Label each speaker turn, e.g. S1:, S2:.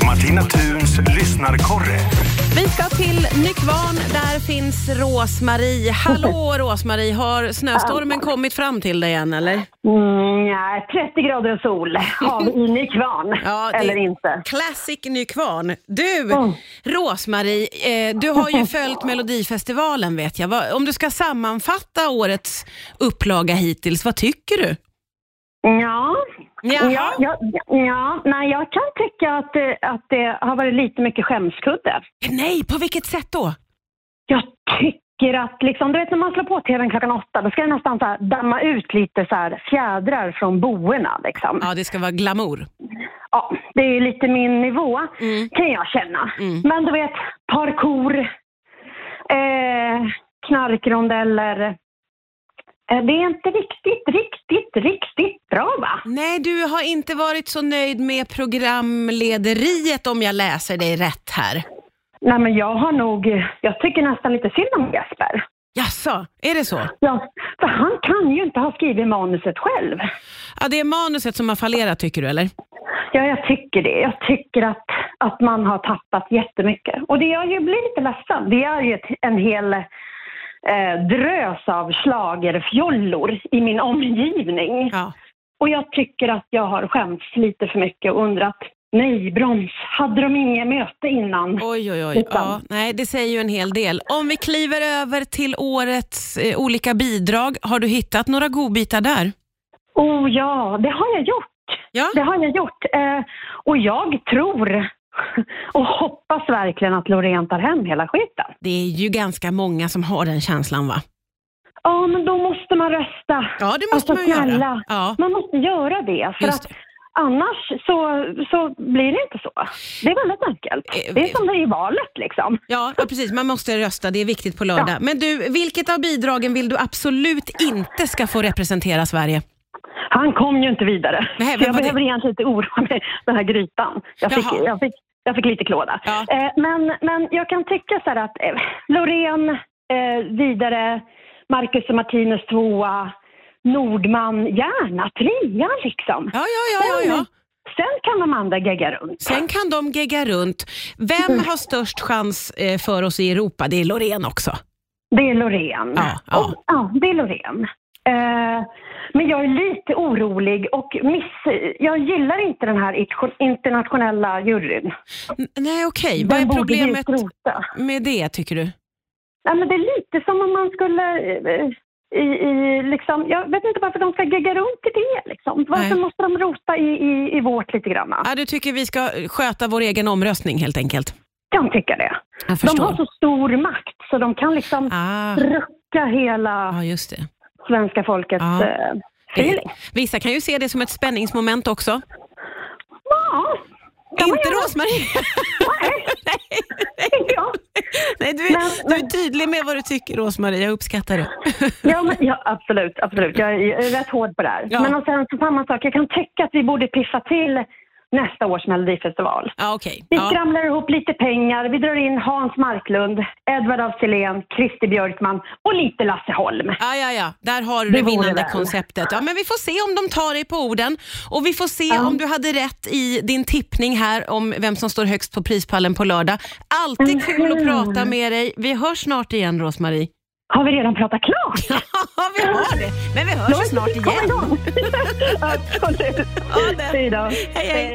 S1: Sigtuns lyssnarkorre.
S2: Vi ska till Nykvarn. Där finns Rosmarie. Hallå Rosmarie, har snöstormen kommit fram till dig än eller?
S3: Mm, ja, 30 grader och sol har vi i Nykvarn,
S2: det är
S3: eller inte.
S2: Classic Nykvarn. Du,
S3: Mm.
S2: Rosmarie, eh, du har ju följt Melodifestivalen vet jag. Vad- Om du ska sammanfatta årets upplaga hittills, vad tycker du?
S3: Ja.
S2: Jaha.
S3: Ja, ja, ja, nej, jag kan tycka att, eh, att det har varit lite mycket skämskudde.
S2: Nej, på vilket sätt då?
S3: Jag tycker att, liksom, du vet när man slår på tvn klockan åtta, då ska det nästan så här damma ut lite så här fjädrar från boorna. Liksom.
S2: Ja, det ska vara glamour.
S3: Ja, det är lite min nivå, kan jag känna.
S2: Mm.
S3: Men du vet, parkour, eh, knarkrondeller. Eh, Det är inte riktigt, riktigt, riktigt bra va?
S2: Nej, du har inte varit så nöjd med programlederiet om jag läser dig rätt här.
S3: Nej men jag har nog, jag tycker nästan lite synd om Jesper.
S2: Jaså, är det så?
S3: Ja, för han kan ju inte ha skrivit manuset själv.
S2: Ja, det är manuset som har fallerat tycker du eller?
S3: Ja, jag tycker det. Jag tycker att, att man har tappat jättemycket. Och det jag ju blir lite ledsen, det är ju ett, en hel eh, drös av schlagerfjollor i min omgivning.
S2: Ja.
S3: Och jag tycker att jag har skämts lite för mycket och undrat, nej broms, hade de inget möte innan?
S2: Oj, oj, oj.
S3: Utan-
S2: Ja, nej, det säger ju en hel del. Om vi kliver över till årets eh, olika bidrag, har du hittat några godbitar där?
S3: Oh ja, det har jag gjort.
S2: Ja,
S3: Det har jag gjort. Eh, och jag tror och hoppas verkligen att Loreen tar hem hela skiten.
S2: det är ju ganska många som har den känslan va?
S3: Ja, men då måste man rösta.
S2: Ja, det måste
S3: alltså,
S2: man ju göra.
S3: snälla.
S2: Ja,
S3: Man måste göra det. För
S2: just
S3: att
S2: det.
S3: annars så, så blir det inte så. Det är väldigt enkelt.
S2: Eh,
S3: Det är som det är i valet liksom.
S2: Ja, ja, precis. Man måste rösta. Det är viktigt på lördag.
S3: Ja.
S2: Men du, vilket av bidragen vill du absolut inte ska få representera Sverige?
S3: Han kom ju inte vidare.
S2: Nej,
S3: så
S2: vem
S3: jag
S2: var det?
S3: behöver egentligen inte oroa mig den här grytan. Jag fick,
S2: Jaha.
S3: jag fick, jag fick lite klåda.
S2: Ja.
S3: Eh, men, men jag kan tycka så här att eh, Loreen eh, vidare, Marcus och Martinus tvåa, Nordman gärna trea liksom.
S2: Ja, ja, ja, ja. ja.
S3: Sen kan de andra gegga runt.
S2: Sen kan de gegga runt. Vem har störst chans eh, för oss i Europa? Det är Loreen också.
S3: Det är Loreen.
S2: Ja, ja.
S3: Och, ja det är Loreen. Eh, men jag är lite orolig och miss, jag gillar inte den här itko- internationella juryn.
S2: N- nej, okej. Vad
S3: Den
S2: är
S3: borde vi
S2: problemet
S3: skrota.
S2: med det, tycker du?
S3: Nej, men det är lite som om man skulle... eh, I, i, liksom, jag vet inte varför de ska gegga runt i det. Liksom. Varför
S2: Nej.
S3: måste de rota i, i, i vårt lite grann?
S2: Ja, du tycker vi ska eh, sköta vår egen omröstning helt enkelt?
S3: Kan tycka det.
S2: Jag
S3: De har så stor makt så de kan liksom
S2: Ah,
S3: rucka hela
S2: ja, just det.
S3: svenska folkets
S2: Ja.
S3: eh, feeling.
S2: Eh, Vissa kan ju se det som ett spänningsmoment också.
S3: Ja, kan man
S2: Inte
S3: göra.
S2: Rosmarie. Nej.
S3: tänker jag.
S2: Nej, du,
S3: Men-
S2: är, du är
S3: men-
S2: tydlig med vad du tycker Rosmarie. Jag uppskattar det.
S3: Ja, men, ja, absolut, absolut. Jag är, jag är rätt hård på det här.
S2: Ja.
S3: Men och sen så samma sak, jag kan tycka att vi borde piffa till nästa års melodifestival.
S2: Ja, okej.
S3: Vi
S2: Ja.
S3: skramlar ihop lite pengar. Vi drar in Hans Marklund, Edvard af Sillén, Christer Björkman och lite Lasse Holm.
S2: Ja, ja, ja. Där har du
S3: Det
S2: det
S3: vore
S2: vinnande
S3: väl.
S2: konceptet. Ja, men vi får se om de tar dig på orden och vi får se om du hade rätt i din tippning här om vem som står högst på prispallen på lördag. Alltid kul att prata med dig. Vi hörs snart igen, Rosmarie.
S3: Har vi redan pratat klart?
S2: Ja, vi har det. Men vi hörs ju snart
S3: Kom
S2: igen.
S3: igång! Absolut.
S2: Ja, det.
S3: Hej då.
S2: Hej, hej.